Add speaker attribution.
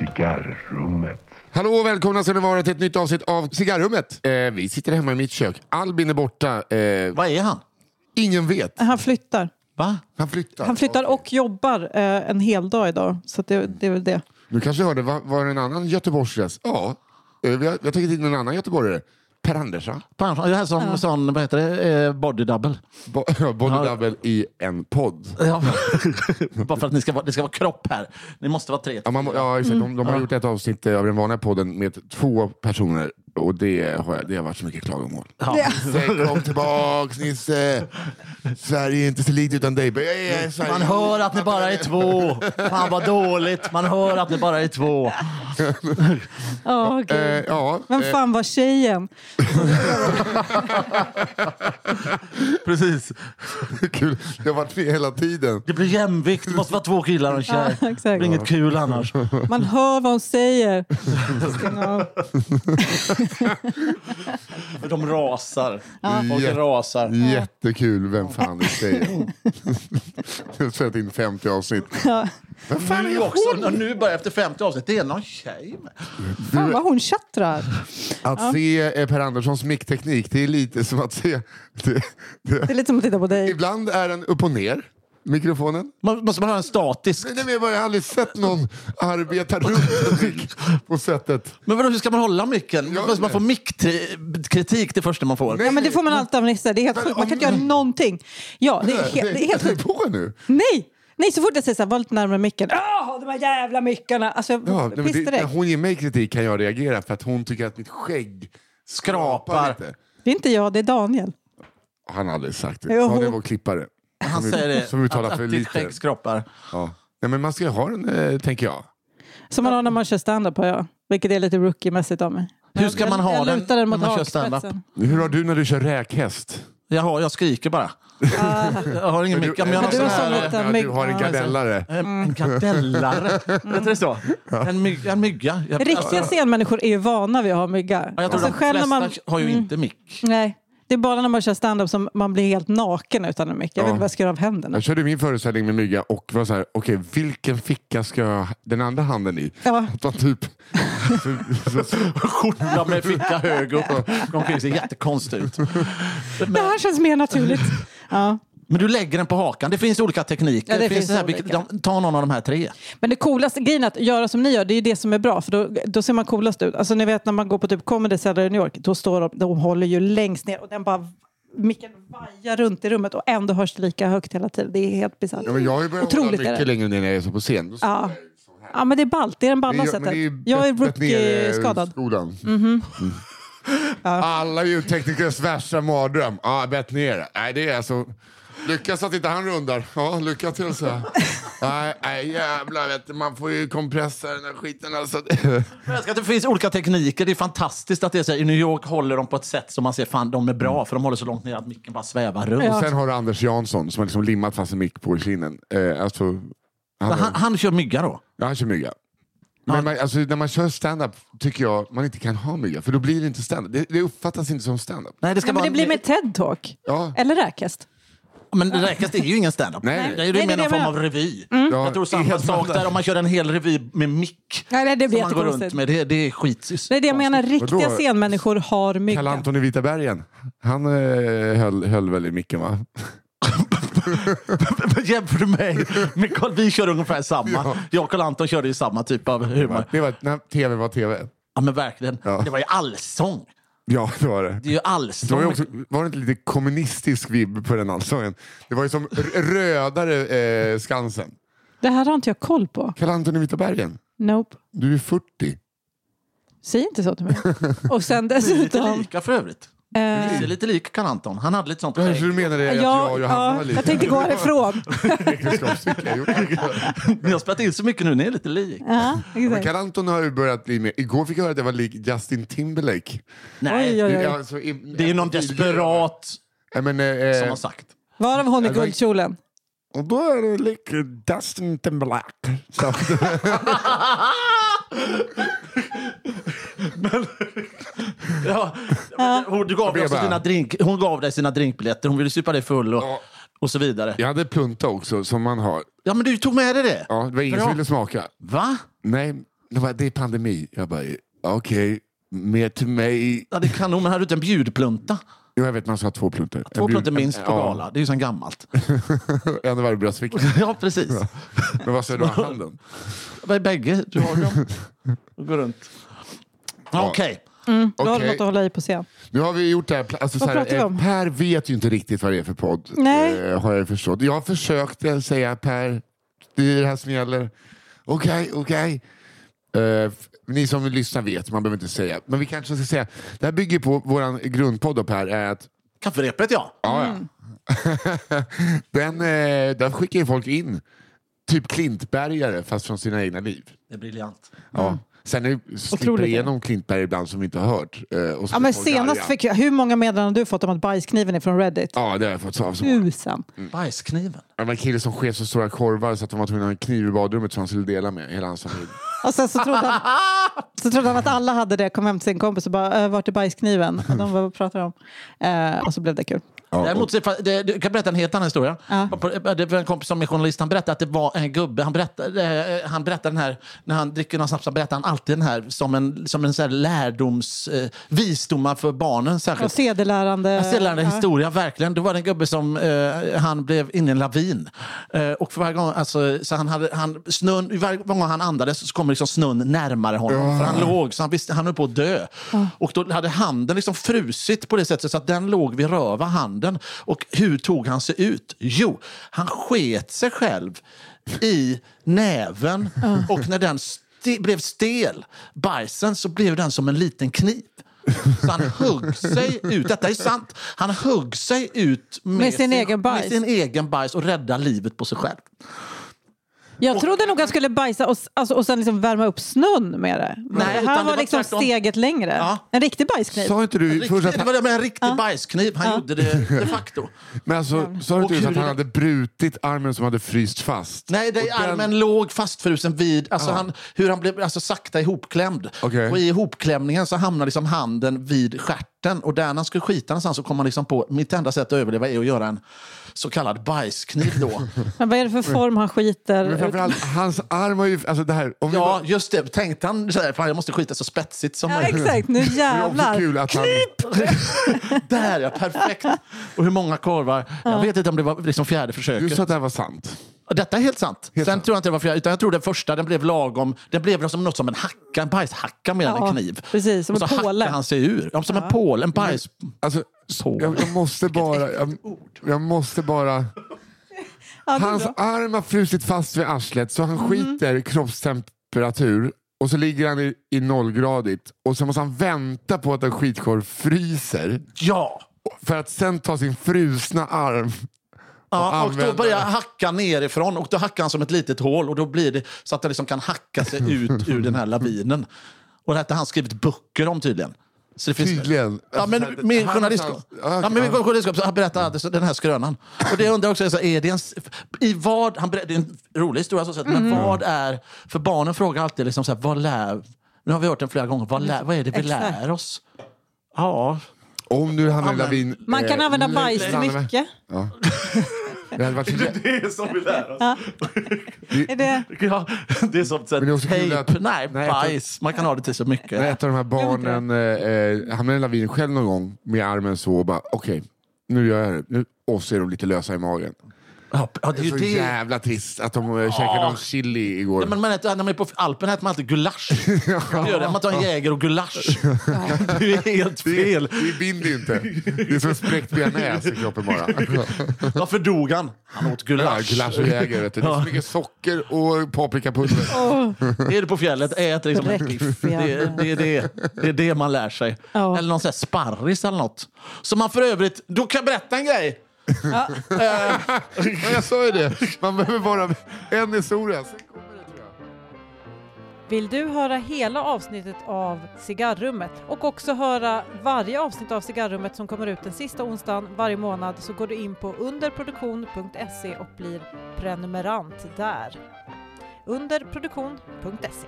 Speaker 1: Cigarrummet.
Speaker 2: Hallå och välkomna ska ni vara till ett nytt avsnitt av Cigarrummet. Eh, vi sitter hemma i mitt kök. Albin är borta. Eh,
Speaker 3: Vad är han?
Speaker 2: ingen vet.
Speaker 4: Han flyttar.
Speaker 3: Va?
Speaker 2: Han flyttar.
Speaker 4: Han flyttar och jobbar eh, en hel dag idag. Så att det, det är väl det.
Speaker 2: Du kanske hörde, var, var det en annan göteborgsgäst? Ja, eh, vi har, vi har tagit in en annan göteborgare. Per Andersson.
Speaker 3: Pension, det här som, sån, vad heter det, eh, body double.
Speaker 2: Bo, Bonnie Double i en podd.
Speaker 3: Ja. Bara för att ni ska vara, det ska vara kropp här. Ni måste vara tre.
Speaker 2: Ja, man, må- ja, exakt. De, de har gjort ett avsnitt eh, av den vanliga podden med två personer och det har, jag, det har varit så mycket klagomål.
Speaker 3: Ja.
Speaker 2: Säg kom tillbaks Nisse! Sverige är inte så likt utan dig. Jag är Sverige.
Speaker 3: Man hör att ni bara är två. Fan vad dåligt. Man hör att ni bara är två.
Speaker 4: Oh,
Speaker 2: Eh, ja,
Speaker 4: Vem
Speaker 2: eh,
Speaker 4: fan var tjejen?
Speaker 3: Precis.
Speaker 2: kul. Jag har varit med hela tiden.
Speaker 3: Det blir jämvikt. Det måste vara två killar och en tjej.
Speaker 4: Ja,
Speaker 3: Det
Speaker 4: exakt.
Speaker 3: blir inget kul annars.
Speaker 4: Man hör vad hon säger. Stäng av.
Speaker 3: För de rasar. Folk
Speaker 2: Ja.
Speaker 3: rasar.
Speaker 2: Jättekul, vem fan det säger. Jag har spelat in 50 avsnitt. Vem fan är
Speaker 3: Nu
Speaker 2: jag?
Speaker 3: också. Och nu bara efter 50 avsnitt. Det är någon tjej med.
Speaker 4: Fan vad hon tjattrar.
Speaker 2: Att se eh, Per Anderssons mickteknik, det är lite som att se... Det,
Speaker 4: Det är
Speaker 2: det.
Speaker 4: lite som att titta på dig.
Speaker 2: Ibland är den upp och ner, mikrofonen.
Speaker 3: Man, måste man ha en statisk?
Speaker 2: Nej, men jag har aldrig sett någon arbeta runt en mick på sättet.
Speaker 3: Men vadå, hur ska man hålla micken?
Speaker 2: Ja,
Speaker 3: Måste
Speaker 2: nej.
Speaker 3: man få mickkritik det första man får?
Speaker 4: Ja, men det får man alltid av Nisse. Det är helt sjukt. Man kan inte göra någonting. Ja, det är helt, det är helt
Speaker 2: Jag
Speaker 4: sjukt.
Speaker 2: är på nu.
Speaker 4: Nej! Nej, så fort jag säger så här, var lite närmare micken. Åh, de här jävla mickarna! Alltså, jag
Speaker 2: Ja, nej, men
Speaker 4: piss
Speaker 2: det, när
Speaker 4: direkt.
Speaker 2: hon ger mig kritik kan jag reagera för att hon tycker att mitt skägg skrapar
Speaker 3: Skrapar.
Speaker 2: lite.
Speaker 4: Det är inte jag, det är Daniel.
Speaker 2: Han har aldrig sagt det.
Speaker 4: Jo.
Speaker 2: Ja, det var klippare.
Speaker 3: Han
Speaker 2: som,
Speaker 3: säger det,
Speaker 2: Som uttalar
Speaker 3: att,
Speaker 2: för
Speaker 3: att ditt
Speaker 2: lite.
Speaker 3: skägg skrapar.
Speaker 2: Ja. Nej, men man ska ju ha den, eh, tänker jag.
Speaker 4: Som man har när man kör standup på, ja. Vilket är lite rookie-mässigt av mig.
Speaker 3: Hur ska man ha
Speaker 4: jag
Speaker 3: den
Speaker 4: lutar den
Speaker 3: när
Speaker 4: mot liksom.
Speaker 3: man kör standup?
Speaker 4: hakspetsen.
Speaker 2: Hur har du när du kör räkhäst?
Speaker 3: Jag, har, jag skriker bara. jag har ingen mick. Men jag har
Speaker 4: Ah. du
Speaker 3: sån
Speaker 4: har Mm. sån
Speaker 3: här,
Speaker 4: liten-
Speaker 2: eh, ja, du har en
Speaker 4: mygg-
Speaker 2: gardellare.
Speaker 3: eh, en gardellare.
Speaker 4: Mm.
Speaker 3: Heter det så? En, myg, en mygga. Jag,
Speaker 4: Riktiga scenmänniskor är ju vana vid att ha myggar.
Speaker 3: Alltså- Ja, jag tror
Speaker 4: Alltså,
Speaker 3: de flesta har ju
Speaker 4: Mm,
Speaker 3: inte mick.
Speaker 4: Nej, det är bara när man kör standup som man blir helt naken utan en mick. Jag vet
Speaker 2: Ja.
Speaker 4: inte vad jag ska göra av händerna.
Speaker 2: Jag körde min föreställning med mygga och var så här, okej, vilken ficka ska jag ha den andra handen i?
Speaker 4: Ja.
Speaker 2: Att man typ... så, så, så,
Speaker 3: Skjorta med ficka hög upp och omkring. ser jättekonstigt ut.
Speaker 4: Det här känns mer naturligt. Ja.
Speaker 3: Men du lägger den på hakan. Det finns olika tekniker.
Speaker 4: Ja, det finns
Speaker 3: så här,
Speaker 4: olika.
Speaker 3: vilka- ta någon av de här tre.
Speaker 4: Men det coolaste grejen att göra som ni gör, det är ju det som är bra. För då, då ser man coolast ut. Alltså ni vet när man går på typ comedy cellar i New York, då står de, de håller ju längst ner och den bara micken vajar runt i rummet och ändå hörs det lika högt hela tiden. Det är helt bisarrt.
Speaker 2: ja, men jag har ju börjat hålla
Speaker 4: Otroligt är det.
Speaker 2: mycket längre ner när jag är så på scen. Då står
Speaker 4: Ja.
Speaker 2: jag ju så här.
Speaker 4: Ja, men det är ballt. Det är den
Speaker 2: Det
Speaker 4: balla
Speaker 2: är-
Speaker 4: sättet.
Speaker 2: men det ju
Speaker 4: jag är
Speaker 2: bättre ner eh, i
Speaker 4: rookie-skadad. Mhm.
Speaker 2: Skolan. Mm. Alla ljudteknikers värsta mardröm. Ja, bett ner. Nej, det är alltså... Lyckas att inte han rundar. Ja, lycka till så. här. Nej, nej, jävlar vet du. Man får ju kompressa den här skiten alltså.
Speaker 3: Jag älskar att det finns olika tekniker. Det är fantastiskt att det är så här, I New York håller de på ett sätt som man ser fan de är
Speaker 4: Mm.
Speaker 3: bra för de håller så långt ner att micken bara svävar runt.
Speaker 2: Och sen har du Anders Jansson som har liksom limmat fast en mick på kinden. Eh, alltså, han,
Speaker 3: Han, han kör mygga då?
Speaker 2: ja, han kör mygga. Men man, alltså, när man kör stand-up tycker jag man inte kan ha mygga, för då blir det inte stand-up. Det, det uppfattas inte som stand-up.
Speaker 3: Nej, det ska
Speaker 4: Ja, men
Speaker 3: vara
Speaker 4: det
Speaker 3: en-
Speaker 4: blir med TED-talk.
Speaker 2: Ja.
Speaker 4: Eller räkhäst.
Speaker 3: Men det räknas, det är ju ingen standup.
Speaker 2: Nej, nej.
Speaker 3: Det är ju
Speaker 4: Nej,
Speaker 3: mer
Speaker 4: det är
Speaker 3: någon
Speaker 4: det
Speaker 3: form
Speaker 4: jag Mm.
Speaker 3: av revy.
Speaker 2: Ja,
Speaker 3: Jag tror samma
Speaker 2: helt
Speaker 3: sak
Speaker 2: sant.
Speaker 3: där om man kör en hel revy med mick.
Speaker 4: Nej, nej, det blir
Speaker 3: som man går runt
Speaker 4: jättekonstigt.
Speaker 3: med. Det, det är skit.
Speaker 4: Det är det jag menar. Riktiga
Speaker 2: Vadå?
Speaker 4: scenmänniskor har mygga.
Speaker 2: Kalle Anton i Vita bergen. Han eh, höll, höll väl i micken va?
Speaker 3: Jämför du mig med Carl, vi kör ungefär samma. Jag och Carl Anton körde ju samma typ av humor.
Speaker 2: Det var när tv var tv.
Speaker 3: Ja men verkligen.
Speaker 2: Ja.
Speaker 3: Det var ju allsång.
Speaker 2: Ja, det var det.
Speaker 3: Det är ju
Speaker 2: Det var,
Speaker 3: allsång.
Speaker 2: ju också, var det inte lite kommunistisk vibb på den allsången? Det var ju som r- rödare eh, Skansen.
Speaker 4: Det här har inte jag koll på.
Speaker 2: Kalle Anton i Vita bergen.
Speaker 4: Nope.
Speaker 2: Du är 40.
Speaker 4: Säg inte så till mig. Och sen
Speaker 3: Lite
Speaker 4: dessutom...
Speaker 3: lika för övrigt. Det
Speaker 4: eh,
Speaker 3: är lite lik Carl Anton. Han hade lite sånt
Speaker 2: Ja, Så
Speaker 3: skägg.
Speaker 2: du menar det att jag
Speaker 4: ja,
Speaker 2: och Johanna var
Speaker 4: ja,
Speaker 2: lika?
Speaker 4: jag tänkte gå härifrån.
Speaker 2: Äktenskapscykel, jo.
Speaker 3: Ni har spelat in så mycket nu, ni är lite lik.
Speaker 4: Ja,
Speaker 2: Men
Speaker 4: exakt.
Speaker 2: Kalle Anton har ju börjat bli med. Igår fick jag höra att jag var lik Justin Timberlake.
Speaker 4: Oj, oj, oj.
Speaker 2: Alltså, i-
Speaker 3: Det är ju någon desperat
Speaker 2: Nej, men, eh,
Speaker 3: som
Speaker 2: eh,
Speaker 3: har sagt.
Speaker 4: Varav hon i
Speaker 2: Jag var-
Speaker 4: guldkjolen.
Speaker 2: och då är det lik Justin Timberlake. Så.
Speaker 3: Ja, men hon, du gav dig också
Speaker 2: Beba.
Speaker 3: dina drink, hon gav dig sina drinkbiljetter, hon ville supa dig full och,
Speaker 2: Ja.
Speaker 3: och så vidare.
Speaker 2: Jag hade plunta också, som man har.
Speaker 3: Ja, men du tog med dig det?
Speaker 2: Ja, det var ingen
Speaker 3: Bra.
Speaker 2: som ville smaka.
Speaker 3: Va?
Speaker 2: Nej, de bara, det är pandemi. Jag bara, okej, mer till mig.
Speaker 3: Ja, det är kanon, men här ute en bjudplunta.
Speaker 2: Jo, jag vet, man ska ha två pluntor.
Speaker 3: Två pluntor minst på
Speaker 2: Ja,
Speaker 3: gala. Det är ju sen gammalt.
Speaker 2: En i varje bröstficka.
Speaker 3: Ja, precis.
Speaker 2: Men vad säger du om handen?
Speaker 3: Bä- Bägge, du har dem. Och går runt. Okej.
Speaker 4: Då har du
Speaker 2: Okej.
Speaker 4: något att hålla i på scen.
Speaker 2: Nu har vi gjort det här. pla- Alltså, så
Speaker 4: Vad
Speaker 2: här
Speaker 4: pratar vi
Speaker 2: eh,
Speaker 4: om?
Speaker 2: per vet ju inte riktigt vad det är för podd.
Speaker 4: Nej.
Speaker 2: Eh, har jag förstått. Jag försökte säga Per, det är det här som gäller. Okej, okej. Eh, f- ni som lyssnar vet, man behöver inte säga. Men vi kanske ska säga, det här bygger på vår grundpodd då, Per, är att
Speaker 3: Kafferepet, ja.
Speaker 2: Ja, ja.
Speaker 4: Mm.
Speaker 2: den, eh, den skickar ju folk in, typ klintbergare, fast från sina egna liv.
Speaker 3: Det är briljant.
Speaker 2: Ja. Sen är- slipper
Speaker 4: Mm. Otroligt.
Speaker 2: det igenom klintbergare ibland som vi inte har hört. eh, Och så
Speaker 4: Ja,
Speaker 2: blir
Speaker 4: men
Speaker 2: folk
Speaker 4: senast
Speaker 2: arga.
Speaker 4: fick jag, hur många meddelanden har du fått om att bajskniven är från Reddit? Mm.
Speaker 2: Ja, det har jag fått så- av så många.
Speaker 4: Tusen.
Speaker 3: Bajskniven.
Speaker 2: Det var en kille som sket så stora korvar så att de var tvungna att ha en kniv i badrummet som han skulle dela med hela hans familj.
Speaker 4: Och sen så trodde, han, så trodde han att alla hade det, kom hem till sin kompis och bara, äh, vart är bajskniven? Och de bara, vad pratar du om? Eh, och så blev det kul.
Speaker 3: Däremot, så är fa- det, det- jag kan berätta en helt annan historia.
Speaker 4: Ja.
Speaker 3: Och på- eh, Det var en kompis som är journalist, han berättade att det var en gubbe, han berättade, eh, han berättade den här, när han dricker någon snaps, så berättar han alltid den här som en, som en så här lärdoms, eh, visdomar för barnen
Speaker 4: Och
Speaker 3: särskilt.
Speaker 4: sedelärande.
Speaker 3: Jag ser den historia, verkligen. Då var det en gubbe som eh, han blev inne i en lavin. Eh, och för varje gång, alltså, så han hade, han, snön, varje gång han andades så kom liksom snön närmare honom. För han låg, så han, visste, han höll på att dö. Och då hade handen liksom frusit på det sättet så att den låg vid röva, handen. Och hur tog han sig ut? Jo, han sket sig själv i näven. Och när den sti- blev stel, bajsen, så blev den som en liten kniv. Så han högg sig ut, detta är sant, han högg sig ut med,
Speaker 4: Med sin egen bajs.
Speaker 3: med sin egen bajs och rädda livet på sig själv.
Speaker 4: Jag trodde nog han skulle bajsa och, s- alltså, och sen liksom värma upp snön med det. Men
Speaker 3: Nej,
Speaker 4: Nej,
Speaker 3: utan det
Speaker 4: han var
Speaker 3: var
Speaker 4: liksom
Speaker 3: tvärtom.
Speaker 4: steget längre.
Speaker 3: Ja.
Speaker 4: En riktig bajskniv.
Speaker 2: Sa inte du
Speaker 4: Alltså,
Speaker 2: först
Speaker 3: Riktigt,
Speaker 2: att
Speaker 3: det
Speaker 2: han,
Speaker 3: var med en riktig bajskniv, han gjorde det de facto.
Speaker 2: men alltså, sa
Speaker 3: Och
Speaker 2: inte du
Speaker 3: hur
Speaker 2: att han
Speaker 3: är det-
Speaker 2: hade brutit armen som hade fryst fast?
Speaker 3: Nej, det,
Speaker 2: Och den-
Speaker 3: armen låg fastfrusen vid, alltså han, hur han blev alltså, sakta ihopklämd.
Speaker 2: Okej.
Speaker 3: Och i ihopklämningen så hamnade liksom handen vid stjärten och där när han skulle skita någonstans så kom han liksom på, mitt enda sätt att överleva är att göra en så kallad bajskniv då.
Speaker 4: Men vad är det för form han skiter
Speaker 2: Men framförallt, hans arm har ju... Alltså det här, om vi
Speaker 3: Ja, just det. Tänkte han så här, fan jag måste skita så spetsigt som
Speaker 4: Ja,
Speaker 3: möjligt.
Speaker 4: exakt. Nu
Speaker 2: Det är också
Speaker 4: jävlar.
Speaker 2: kul att han...
Speaker 3: Där ja, perfekt. Och hur många korvar? Jag vet inte om det var liksom fjärde
Speaker 2: Du
Speaker 3: försöket.
Speaker 2: sa att det här var sant.
Speaker 3: Och Detta är helt sant.
Speaker 2: Helt
Speaker 3: Sen
Speaker 2: sant.
Speaker 3: tror jag inte det var fjärde, utan jag tror den första den blev lagom. Den blev som något som en hacka, en bajshacka mer än
Speaker 4: Ja,
Speaker 3: en kniv.
Speaker 4: precis, som
Speaker 3: Och så
Speaker 4: en påle.
Speaker 3: hackade han sig ur. Ja, som en pål, en bajs...
Speaker 2: Alltså,
Speaker 3: Så.
Speaker 2: jag, jag måste bara... Jag, jag måste bara...
Speaker 4: Ja, Mhm. det är
Speaker 2: Hans
Speaker 4: bra.
Speaker 2: arm har frusit fast vid arslet så han skiter i kroppstemperatur och så ligger han i, i nollgradigt och så måste han vänta på att en skitkorv fryser
Speaker 3: Ja!
Speaker 2: för att sen ta sin frusna arm.
Speaker 3: Ja, och då
Speaker 2: använda
Speaker 3: börjar
Speaker 2: det.
Speaker 3: hacka nerifrån och då hackar han som ett litet hål och då blir det så att han liksom kan hacka sig ut ur den här lavinen. Och detta har han skrivit böcker om tydligen. Så det finns
Speaker 2: Tydligen. Alltså,
Speaker 3: Ja, men min
Speaker 2: Han-
Speaker 3: journalist,
Speaker 2: han-
Speaker 3: ja, men min journalistskap så han berättar alltid så- den här skrönan. Och det jag undrar också, är, så här, är det, en, s- i vad, han berättar, det är en rolig historia, alltså, så sett, men vad är, för barnen frågar alltid, liksom så här, vad lär, nu har vi hört den flera gånger, vad, lär, vad är det vi
Speaker 4: Exakt.
Speaker 3: lär oss? Ja,
Speaker 2: Om nu hamnar i
Speaker 3: Använd-
Speaker 2: lavin...
Speaker 4: Man kan
Speaker 2: eh,
Speaker 4: använda
Speaker 2: nu-
Speaker 4: bajs till
Speaker 2: stannar med-
Speaker 4: mycket.
Speaker 2: Det hade varit så jä-
Speaker 3: det är som vi lär oss.
Speaker 4: Är det...
Speaker 3: Ja, det är som
Speaker 2: Men det är
Speaker 3: såhär,
Speaker 2: också kul
Speaker 3: tejp,
Speaker 2: att-
Speaker 3: nej,
Speaker 2: nej, jag tror-
Speaker 3: bajs. Man kan ha det till så mycket.
Speaker 2: när ett av de här barnen eh, eh, hamnar i en lavin själv någon gång med armen så och bara okej, nu gör jag det. Nu, och så är de lite lösa i magen.
Speaker 3: Ja, ja, det är
Speaker 2: Det är
Speaker 3: ju
Speaker 2: så
Speaker 3: Alltså, det.
Speaker 2: jävla trist att de eh, käkade någon chili igår.
Speaker 3: Ja, Men man äter, när man är på Alpen äter man alltid gulasch. Det gör det. Man tar en Jäger och gulasch. Det är ju helt
Speaker 2: Det,
Speaker 3: fel.
Speaker 2: det binder ju inte. Det är som spräckt bearnaise i kroppen bara.
Speaker 3: Varför dog han? Han åt
Speaker 2: Ja,
Speaker 3: gulasch.
Speaker 2: Glass och Jäger, vet du. Det är så mycket socker och paprikapulver.
Speaker 3: Är du på fjället, ät liksom en biff. Det, är- det, är det, det är det man lär sig.
Speaker 4: Ja.
Speaker 3: Eller någon sån här sparris eller något. Som man för övrigt... Då kan jag berätta en grej. Eh,
Speaker 2: Men jag sa ju det, man behöver bara en historia.
Speaker 4: Vill du höra hela avsnittet av Cigarrummet och också höra varje avsnitt av Cigarrummet som kommer ut den sista onsdagen varje månad så går du in på underproduktion.se och blir prenumerant där. underproduktion.se